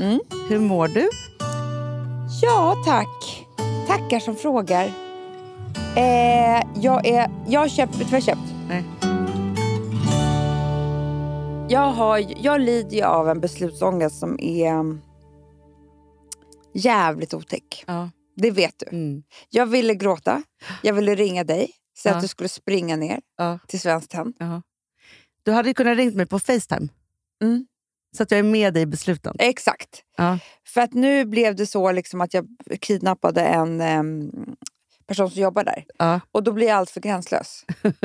Mm. Hur mår du? Ja, tack. Tackar som frågar. Eh, jag är... Jag har köpt... Vet du vad jag har köpt? Nej. Jag, har, ju- jag lider ju av en beslutsångest som är mm, jävligt otäck. Ja. Det vet du. Mm. Jag ville gråta. Jag ville ringa dig. Säga Ja. att du skulle springa ner Ja. till Svenskt Tenn. Du hade ju kunnat ringt mig på Facetime. Mm. Så att jag är med dig i besluten. Exakt. Ja. För att nu blev det så liksom att jag kidnappade en ehm, person som jobbar där. Ja. Och då blir jag allt för gränslös.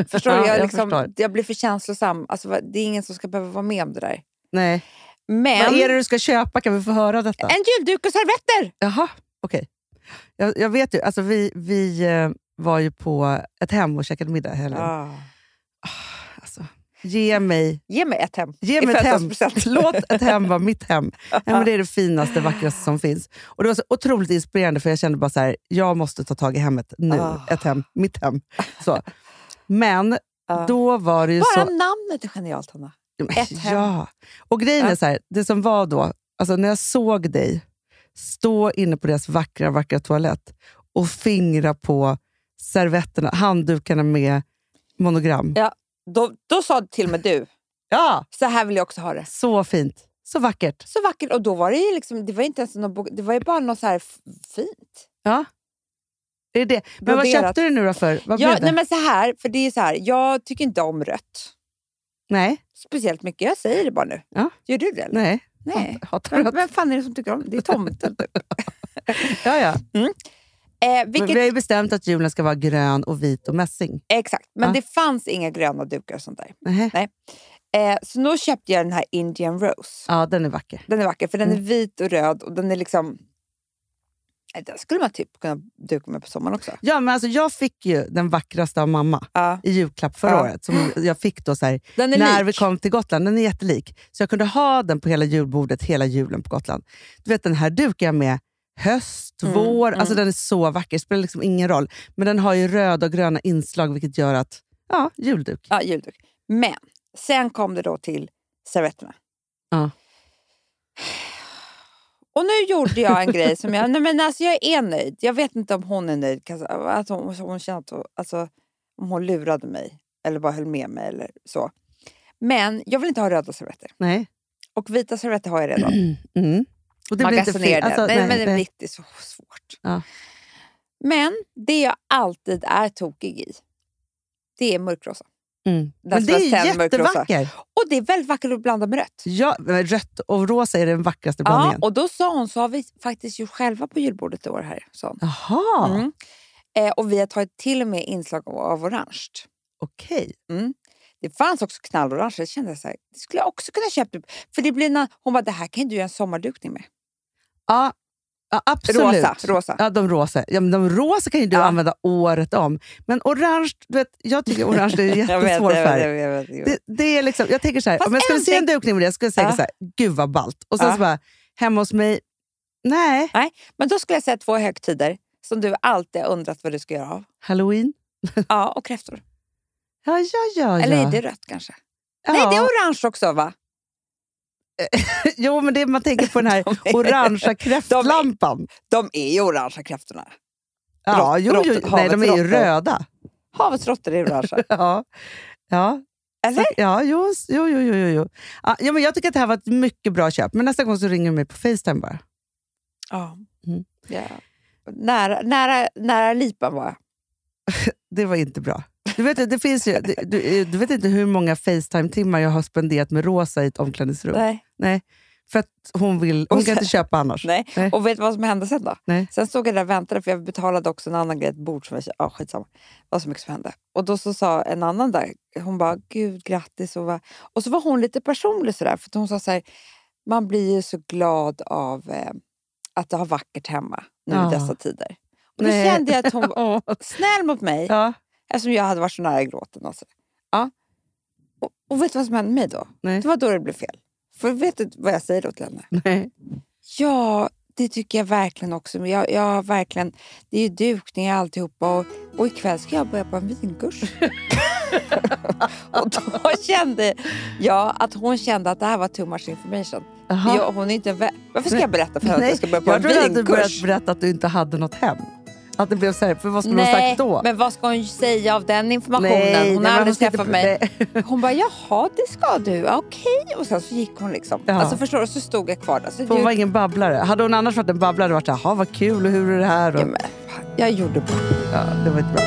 Förstår Ja, du? Jag, jag liksom, förstår. jag blir för känslosam. Alltså, va- det är ingen som ska behöva vara med om det där. Nej. Men Vad är det du ska köpa? Kan vi få höra detta? en julduk och servetter! Jaha, okej. Jag, jag vet ju, alltså vi, vi eh, var ju på ett hem och käkade middag i helgen. Alltså, ge mig, Ah. Ge mig ett hem. ge I mig ett hem. födelsedagspresent. Låt ett hem vara mitt hem. Ja, men det är det finaste, vackraste som finns. Och Det var så otroligt inspirerande, för jag kände bara så här, jag måste ta tag i hemmet nu. Ah. Ett hem, mitt hem. Så. Men Ja. då var det ju Ah. Bara så... namnet är genialt, Hanna. ett hem. Ah. Ja. Och grejen är Ja. så här, det som var då, alltså när jag såg dig stå inne på deras vackra, vackra toalett och fingra på servetterna, handdukarna med monogram. Ja. Då, då sa till och med du, Ja, så här vill jag också ha det. så fint. Så vackert. Så vackert. Och då var det ju liksom, det var inte ens någon bok, det var ju bara något så här f- fint. Ja. Det är det. Men vad Broderat. köpte du nu då för? Vad Ja, blev det? nej men så här, för det är så här, jag tycker inte om rött. nej, Speciellt mycket, jag säger det bara nu. Ja. Gör du det? Eller? nej. Nej. Hat- Hatar Vem, rött. vem fan är det som tycker om det? Det är tomten. Ja, ja. eh, Men vilket, vi har ju bestämt att julen ska vara grön och vit och mässing. Exakt, men Ja. det fanns inga gröna dukar och sånt där. Nähä. Eh, så nu köpte jag den här Indian Rose. Ja, Mm. den är vacker. Den är vacker, för den är vit och röd och den är liksom... Eh, Den skulle man typ kunna duka med på sommaren också. Ja, men alltså, jag fick ju den vackraste av mamma Ja. i julklapp förra Ja. året. Som jag fick då så här, Den är när lik. vi kom till Gotland. Den är jättelik. Så jag kunde ha den på hela julbordet hela julen på Gotland. Du vet, den här dukar jag med höst, Mm, vår. Alltså Den är så vacker. Det spelar liksom ingen roll. Men den har ju röda och gröna inslag vilket gör att, ja, julduk. Ja, julduk. Men sen kom det då till servetterna. Ja. Och nu gjorde jag en grej som jag... Nej men alltså jag är nöjd. Jag vet inte om hon är nöjd. kanske, Att hon, hon känner att hon, alltså, om hon lurade mig eller bara höll med mig eller så. Men jag vill inte ha röda servetter. Nej. Och vita servetter har jag redan. Mm. Och det blir inte Magasinera fel. den. Alltså, nej, men det nej. blir inte så svårt. Ja. Men det jag alltid är tokig i, det är mörkrosa. Mm. Den Men det som är är sen mörkrosa. jättevacker. Och det är väldigt vackert att blanda med rött. Ja, men rött och rosa är den vackraste Ja, blandningen. och då sa hon, så har vi faktiskt gjort själva på julbordet i år här. Sa hon. Jaha, Mm. Eh, och vi har tagit till och med inslag av, av orange. okej. Det fanns också knallorange. Jag kände så här, det skulle jag också kunna köpa. För det blir na- hon bara, det här kan ju du göra en sommardukning med. Ja, ja, absolut. Rosa, rosa. Ja, de rosa. Ja, men de rosa kan ju du Ja. använda året om. Men orange, du vet, jag tycker orange är en Jag vet, jättesvår jag vet, färg. jag vet, jag vet. Det, det är liksom, jag tänker så här, Fast om jag skulle en se en tänk- dukning med det, jag skulle säga Ja. så här, gud vad ballt. Och sen Ja. så bara, hemma hos mig, nej. Men då skulle jag säga två högtider som du alltid har undrat vad du ska göra av. Halloween? Ja, och kräftor. Ja, ja, ja. ja. Eller är det rött kanske? ja. Nej, det är orange också va? Jo, men det, man tänker på den här De är- orangea kräftlampan. De är ju orangea kräftorna. Ja, Rått- jo, jo, rått- nej, de är ju havets råttor. röda. Havets råttor är orangea. Ja, ja. Eller? ja jo, s- jo, jo, jo, jo, jo. Ja, ja, men jag tycker att det här var ett mycket bra köp, men nästa gång så ringer du mig på Facetime bara. Ja. Mm. ja. Nära, nära, nära lipan var jag. Det var inte bra. Du vet, ju- det finns ju, det- du, du vet inte hur många Facetime-timmar jag har spenderat med Rosa i ett omklädningsrum. Nej. Nej. för att hon, vill, hon kan Och sen- inte köpa annars. Nej. Nej. Och vet du vad som hände sen då? Nej. Sen stod jag där och väntade för jag betalade också en annan grej, ett bord som jag köpte. Ja, skitsamma. Det var så mycket som hände. Och då så sa en annan där, hon bara gud grattis. Och, va- och så var hon lite personlig sådär för att hon sa så här, man blir ju så glad av eh, att ha vackert hemma nu Ja. i dessa tider. Och då Nej. kände jag att hon var Ja. snäll mot mig Ja, eftersom jag hade varit så nära gråten. Och, så. Ja. och, och vet du vad som hände mig då? Nej. Det var då det blev fel. För vet du vad jag säger då till henne? nej. Ja, det tycker jag verkligen också. Men jag, jag har verkligen, det är ju dukningar alltihopa och, och ikväll ska jag börja på en vinkurs. Och då kände jag att hon kände att det här var too much information. Jaha. Jag, hon är inte en vä- Varför ska jag berätta för henne att Nej, jag ska börja på jag trodde att en du börjat vinkurs? berätta att du inte hade något hem. Att det blev så här, för vad skulle du ha Nej, sagt då? men vad ska hon säga av den informationen? hon men har aldrig ska inte träffat pr- mig. nej. Hon bara, jaha det ska du, Ja, okej. Och sen så gick hon liksom. Ja. Alltså förstår du, så stod jag kvar där. Så För Hon var jag, ingen babblare. Hade hon annars varit en babblare hade det varit så här, "Jaha, vad kul och hur är det här? Och, Ja, men- jag gjorde bort ja, det var inte bra.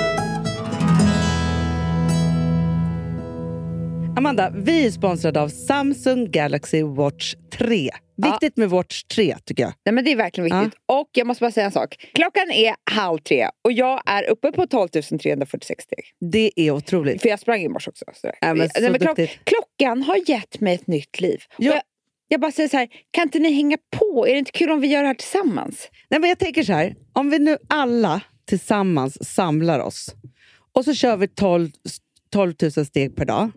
Amanda, vi är sponsrade av Samsung Galaxy Watch 3. Viktigt med Watch 3 tycker jag. Nej men det är verkligen viktigt. Och jag måste bara säga en sak. Klockan är halv tre och jag är uppe på 12 346 steg. Det är otroligt. För jag sprang i morse också. Så. Ja, men så Nej, men klock- duktigt. klockan har gett mig ett nytt liv. Och Ja. Jag, jag bara säger så här, kan inte ni hänga på? Är det inte kul om vi gör det här tillsammans? Nej, men jag tänker så här. Om vi nu alla tillsammans samlar oss och så kör vi 12, 12 000 steg per dag.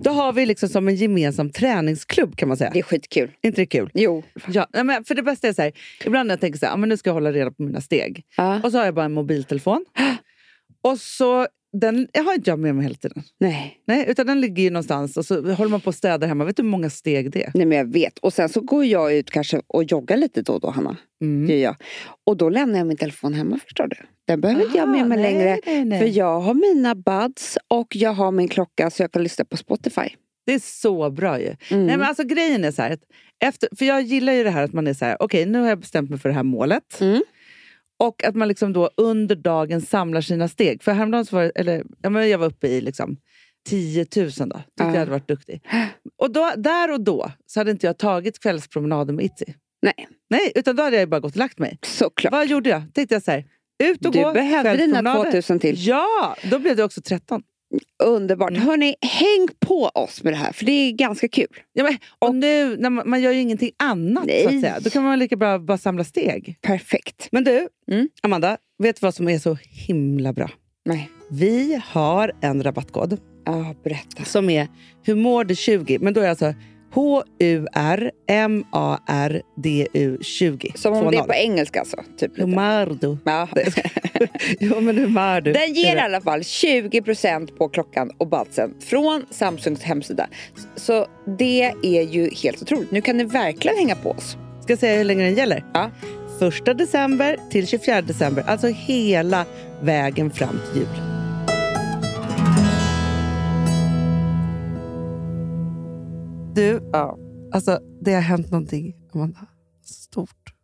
Då har vi liksom som en gemensam träningsklubb kan man säga. Det är skitkul. inte det kul? Jo. Ja, nej, men för det bästa är så här. Ibland när jag tänker så här, "Ah, men nu ska jag hålla reda på mina steg. Ja. Och så har jag bara en mobiltelefon. Och så, den jag har inte jag med mig hela tiden. Nej. Nej, utan den ligger ju någonstans och så håller man på och städar hemma. Vet du hur många steg det är? Nej men jag vet. Och sen så går jag ut kanske och joggar lite då och då Hanna. Mm. Det gör jag. Och då lämnar jag min telefon hemma förstår du. Den behöver inte jag ha med mig Aha, nej, längre. Nej, nej. För jag har mina buds och jag har min klocka så jag kan lyssna på Spotify. Det är så bra ju. Mm. Nej, men alltså, grejen är så här, att efter, för jag gillar ju det här att man är så här, okej nu har jag bestämt mig för det här målet. Mm. Och att man liksom då under dagen samlar sina steg. För häromdagen så var det, eller, ja, men jag var uppe i liksom 10 000 då. Tyckte jag Ja. hade varit duktig. Och då, där och då så hade inte jag tagit kvällspromenaden med Itzy. Nej. Nej, utan då hade jag ju bara gått och lagt mig. Såklart. Vad gjorde jag? Tänkte jag så här, ut och Du gå, behövde dina kvällspromenader. 2000 till. Ja, då blev det också 13. Underbart. Mm. Hörni, häng på oss med det här för det är ganska kul. Ja, men, och, nu, när man, man gör ju ingenting annat så att Nej. säga. Då kan man lika bra bara samla steg. Perfekt. Men du, Mm. Amanda, vet du vad som är så himla bra? Nej. Vi har en rabattkod Ja, berätta. som är HUMORD20. Men då är det alltså H-U-R-M-A-R-D-U-20. Som om det är 2-0. på engelska alltså. Typ lite. Humardo. Ja. Jo, men humardo. Den ger Är i det. alla fall 20% på klockan och badsen från Samsungs hemsida. Så det är ju helt otroligt. Nu kan ni verkligen hänga på oss. Ska jag säga hur länge den gäller? Ja. 1 december till 24 december. Alltså hela vägen fram till jul. Du, Ja. alltså det har hänt någonting Amanda, stort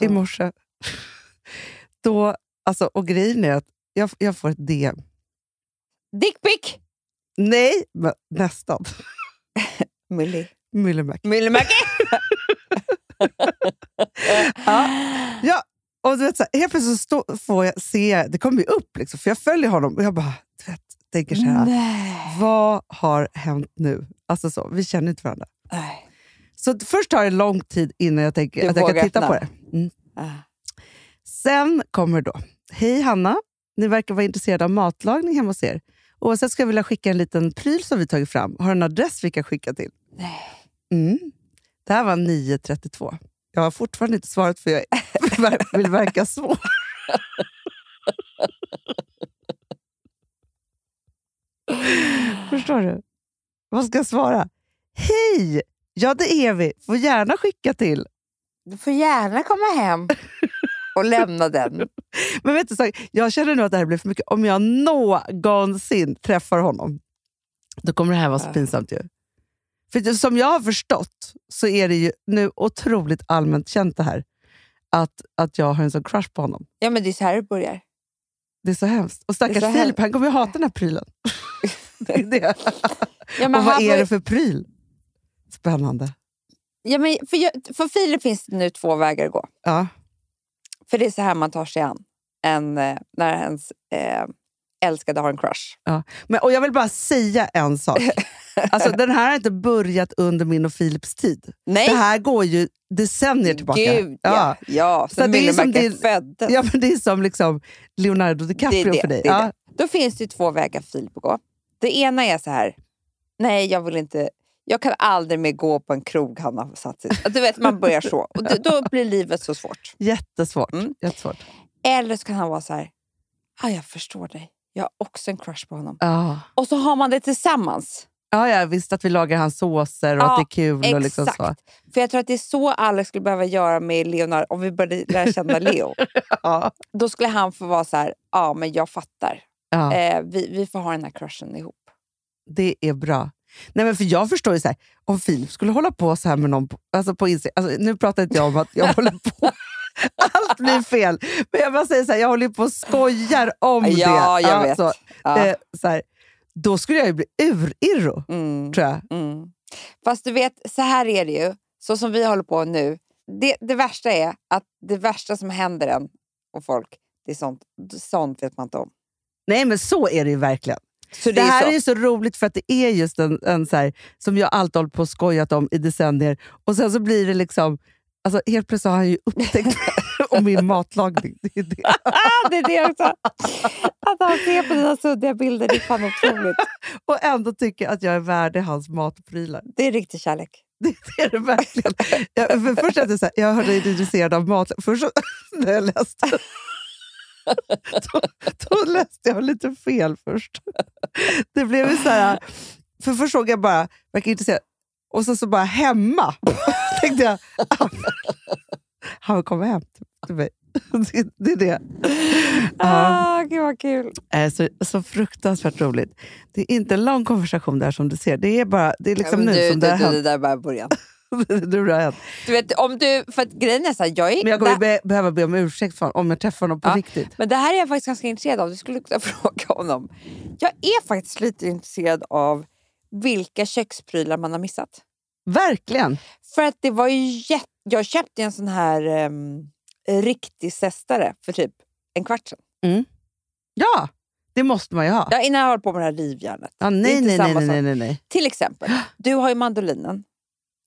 i morse. Då, alltså, och grejen är att jag, jag får ett DM. Dickpick! Nej, men nästan. Millie. Myllymäck. Myllymäki! ja. Ja, och du vet, så här, helt plötsligt så stå, får jag se, det kommer ju upp, liksom, för jag följer honom och jag bara du vet, tänker så här, Nej. vad har hänt nu? Alltså så, vi känner inte varandra. Nej. Så först tar det lång tid innan jag tänker Du att jag kan vågar titta på det. öppna. Mm. Ah. Sen kommer då, hej Hanna, ni verkar vara intresserade av matlagning hemma hos er. Oavsett ska jag vilja skicka en liten pryl som vi tagit fram. Har du en adress vi kan skicka till? Nej. Mm. Det här var 9.32. Jag har fortfarande inte svarat för jag ver- vill verka svår. Förstår du? Vad ska jag svara? Hej! Ja, det är vi. Får gärna skicka till. Du får gärna komma hem och lämna den. Men vet du, så här, jag känner nu att det här blir för mycket. Om jag någonsin träffar honom, då kommer det här vara så Ja. pinsamt ju. För det- som jag har förstått så är det ju nu otroligt allmänt känt det här. Att, att jag har en sån crush på honom. Ja, men det är så här det börjar. Det är så hemskt. Och Det är så stackars hemskt. Filip, han kommer ju hata den här prylen. det är det. Ja, Och vad han är får- det för pryl? Spännande. Ja, men för, jag, för Filip finns det nu två vägar att gå. Ja. För det är så här man tar sig an en, eh, när ens eh, älskade har en crush. Men, och jag vill bara säga en sak. Alltså, den här har inte börjat under min och Filips tid. Nej, Det här går ju decennier tillbaka. gud ja. ja. ja. Så Så det är som Myllymäki din- föddes. Ja, men det är som liksom Leonardo DiCaprio Det är det, för dig. det är ja. Då finns det ju två vägar Filip att gå. Det ena är så här, nej jag vill inte, jag kan aldrig mer gå på en krog han har satt sig Du vet, man börjar så. Och då, då blir livet så svårt. Jättesvårt. Mm. Jättesvårt. Eller så kan han vara så här, ah, jag förstår dig. Jag har också en crush på honom. Ja. Och så har man det tillsammans. Ja, ja, visst att vi lagar hans såser och Ja, att det är kul. Och Exakt. liksom så. För jag tror att det är så Alex skulle behöva göra med Leonardo. Om vi började lära känna Leo. Ja. Då skulle han få vara så här, ja men jag fattar. Ja. Eh, vi, vi får ha den här crushen ihop. Det är bra. Nej, men för Jag förstår ju så här, om Filip skulle hålla på så här med någon på- alltså på Instagram. Alltså, nu pratar inte jag om att jag håller på. Allt blir fel. Men jag bara säger så här, jag håller ju på och skojar om det. ja, jag vet. Alltså, Ja. eh, så här, då skulle jag ju bli urirro, Mm, tror jag. mm. Fast du vet, så här är det ju. Så som vi håller på nu. Det, det värsta är att det värsta som händer en och folk, det är sånt, sånt vet man inte om. Nej, men så är det ju verkligen. Så Det här så. är ju så roligt för att det är just en, en så här, som jag alltid hållit på och skojat om i decennier. Och sen så blir det liksom... Alltså, helt plötsligt har han ju upptäckt om min matlagning. Det är det. Ah, det är det också. Att han ser på dina suddiga bilder, det är fan otroligt. och ändå tycker att jag är värdig hans matprylar. Det är riktig kärlek. Det är det verkligen. Jag, för först att jag, så här, jag hörde dig intresserad av mat. Först så, när jag läste då, då läste jag lite fel först. Det blev ju så här... För först såg jag bara, verkar intresserad. Och sen så bara hemma. tänkte jag, han, han kommer hem till mig. Det, det är det. Ja. Ah, gud vad kul. Eh, Så, så fruktansvärt roligt. Det är inte en lång konversation där som du ser. Det är bara det är liksom Ja, men nu du, som du, det har du, det hänt. där är bara början. Nu har det hänt. Du vet, om du, för att grejen är så här, jag är, Men jag kommer ju det, be- behöva be om ursäkt för honom, om jag träffar honom på Ja. riktigt. men det här är jag faktiskt ganska intresserad av. Du skulle kunna fråga honom. Jag är faktiskt lite intresserad av vilka köksprylar man har missat. Verkligen! För att det var ju jätte... Jag köpte en sån här ehm, riktig zestare för typ en kvart sedan. Ja, det måste man ju ha. Ja, innan jag höll på med det här rivjärnet. Ja, det är nej, inte nej, nej, samma nej, sak. nej, nej, nej. Till exempel, du har ju mandolinen.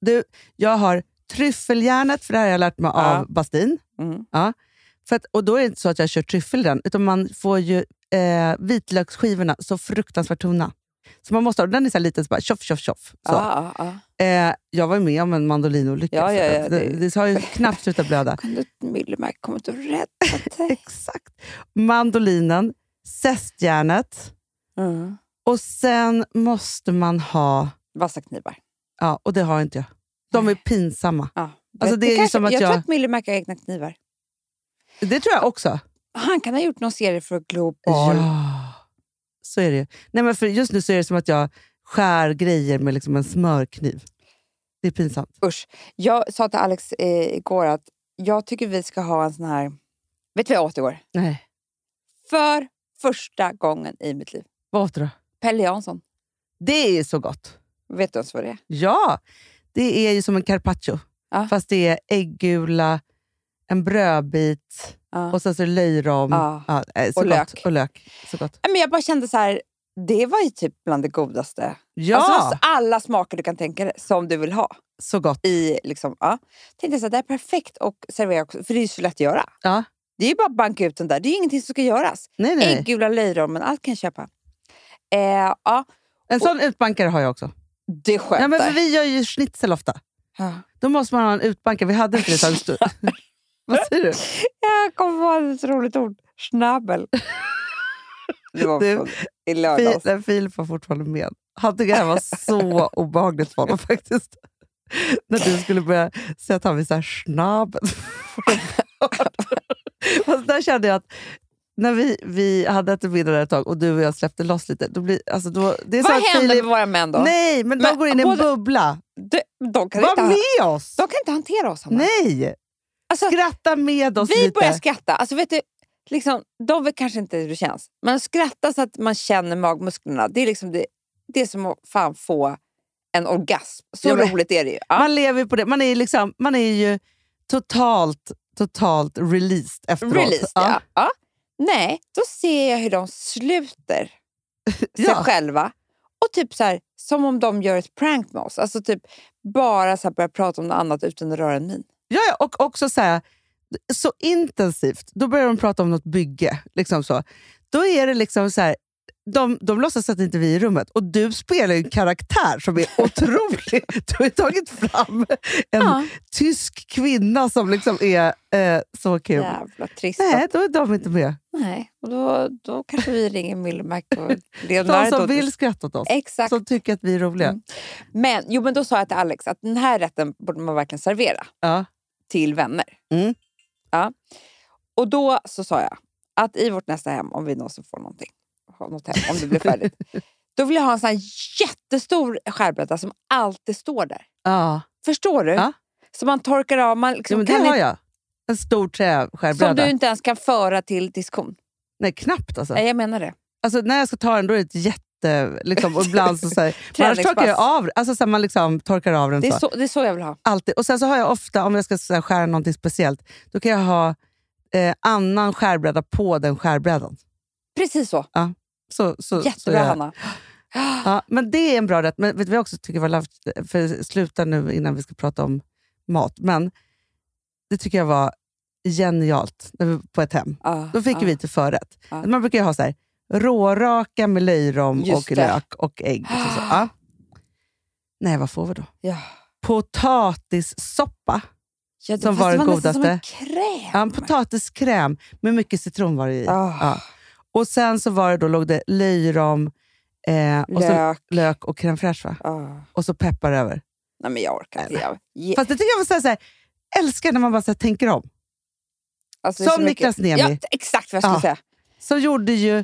Du, jag har tryffeljärnet, för det här har jag lärt mig Ja. av Bastin. Mm. För att, och då är det inte så att jag kör tryffel i den, utan man får ju eh, vitlöksskivorna så fruktansvärt tunna. Så man måste ha, den är så här liten, så bara tjoff, tjoff, tjoff. Så. Ja, ja, ja. Eh, jag var ju med om en mandolinolycka. Ja, ja, ja, så det- det, det har ju knappt slutat blöda. Kunde Myllymäki kommit och räddat dig? Exakt. Mandolinen, zestjärnet Mm. och sen måste man ha... Vassa knivar. Ja, och det har inte jag. De är Nej. pinsamma. Ja. Alltså, Vet, det är ju kanske- som att jag tror jag- att Myllymäki har egna knivar. Det tror jag också. Han kan ha gjort någon serie för Global. Ja, så är det ju. Nej, men för Just nu så är det som att jag skär grejer med liksom en smörkniv. Det är pinsamt. Usch. Jag sa till Alex eh, igår att jag tycker vi ska ha en sån här... Vet du vad jag åt igår? Nej. För första gången i mitt liv. Vad åt du då? Pelle Jansson. Det är så gott. Vet du ens vad det är? Ja, det är ju som en carpaccio. Ja. Fast det är ägggula, en brödbit Ja. och sen så är det löjrom. Ja. Ja, eh, så Och gott. lök. och lök. Så gott. Nej, Men jag bara kände så här, det var ju typ bland det godaste. Ja, Alltså alla smaker du kan tänka dig som du vill ha. så gott. I, liksom, ja. Tänkte jag så här, det här är perfekt att servera också, för det är ju så lätt att göra. Ja. Det är ju bara att banka ut den där, det är ju ingenting som ska göras. Nej, nej. nej. Ägggula löjrom, men allt kan jag köpa. Eh, ja, En sån utbankare har jag också. det sköter. Ja, men för vi gör ju schnitzel ofta. Ja. Då måste man ha en utbankare. Vi hade inte det. så här stor- Vad säger du? Jag kom på ett roligt ord. Schnabel. Det var Du, från i Fi- lördags. nej, Filip var fortfarande med. Han tyckte det här var så obehagligt för honom faktiskt. När du skulle börja säga att han vill så här snabb. Fast där kände jag att när vi, vi hade ätit middag där ett tag och du och jag släppte loss lite. Då blir, alltså då, det är så Vad att händer Filip, med våra män då? Nej, men de Men går in i en både- bubbla. De, de, kan Var inte, han- med oss! de kan inte hantera oss, Hanna. Nej! Alltså, Skratta med oss Vi lite. börjar skratta. Alltså, vet du, liksom, de vet kanske inte hur det känns, men skratta så att man känner magmusklerna. Det är, liksom det, det är som att fan få en orgasm. Så Ja, men- roligt är det ju. Ja. Man lever ju på det. Man är, ju liksom, man är ju totalt, totalt released efteråt. Release, ja. Ja. Nej, då ser jag hur de sluter sig Ja. själva. Och typ så här, som om de gör ett prank med oss. Alltså typ bara så här börja prata om något annat utan att röra en min. Ja, ja, och också så här, så intensivt. Då börjar de prata om något bygge. Liksom så. Då är det liksom så här, de, de låtsas att inte vi är i rummet och du spelar ju en karaktär som är otrolig. Du har ju tagit fram en Ja. tysk kvinna som liksom är eh, så kul. Jävla trist. Nej, då är de inte med. Nej. Och då, då kanske vi ringer Millemark och De Leonardo. som vill skratta åt oss, Exakt. som tycker att vi är roliga. Mm. Men, jo, men då sa jag till Alex att den här rätten borde man verkligen servera Ja. till vänner. Mm. Ja. Och då så sa jag att i vårt nästa hem, om vi någonsin får någonting, ha något hem, om det blir färdigt, då vill jag ha en sån här jättestor skärbräda som alltid står där. Ja. Förstår du? Ja. Så man torkar av, man Ja, liksom men det kan har inte, jag. En stor som träskärbräda. du inte ens kan föra till diskon. Nej, knappt alltså. Nej, jag menar det. alltså. När jag ska ta den då är det ett jätte... Liksom, och ibland så, så här, men annars torkar jag Träningspass. av, alltså, så här, man liksom torkar av den Det är, så. så, det är så jag vill ha. Alltid. Och Sen så har jag ofta, om jag ska så här, skära någonting speciellt, då kan jag ha eh, annan skärbräda på den skärbrädan. Precis så. Så, så, så Jättebra, jag, Hanna. Ja, men det är en bra rätt. Men vet du vad jag också tycker var lavt? För sluta nu innan vi ska prata om mat. Men det tycker jag var genialt när vi var på ett hem. Ja, Då fick ja. vi till förrätt. Ja. Man brukar ju ha så här, råraka med löjrom Just och det. lök och ägg. Och så, så. Ja. Nej, vad får vi då? Ja. Potatissoppa. Ja, det, Som fast var det den var nästan som en godaste. kräm. Ja, en potatiskräm med mycket citron var det i. Ah. Ja. Och sen så var det då, låg det löjrom, eh, och så, Lök. lök och crème fraîche. Va? Ah. och så peppar över. Nej, men jag orkar inte. Nej, Jag, ge, Fast det tycker jag var så här, så här, älskar när man bara så här, tänker om. alltså, det är som mycket- Niklas Niemi. Ja, exakt vad jag skulle Ja. säga. Så gjorde ju...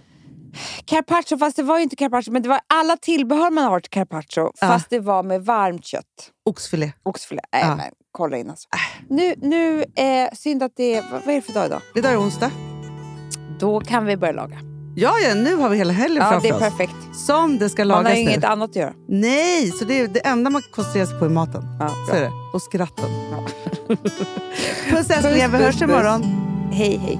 Carpaccio, fast det var ju inte carpaccio. Men det var alla tillbehör man har till carpaccio, Ja. fast det var med varmt kött. Oxfilé. Oxfilé. Äh, Nej, Ja. men kolla in alltså. Nu, nu eh, synd att det är... Vad vad är det för dag idag? Idag är det onsdag. Då kan vi börja laga. Ja, ja, nu har vi hela helgen Ja, det framför är oss. perfekt. Som det ska Man har lagas ju inget nu. annat att göra. Nej, så det, är det enda man koncentrerar sig på är maten. Ja, Så bra. är det. Och skratten. Ja. Puss älsklingar, vi puss, hörs puss. imorgon. Hej, hej.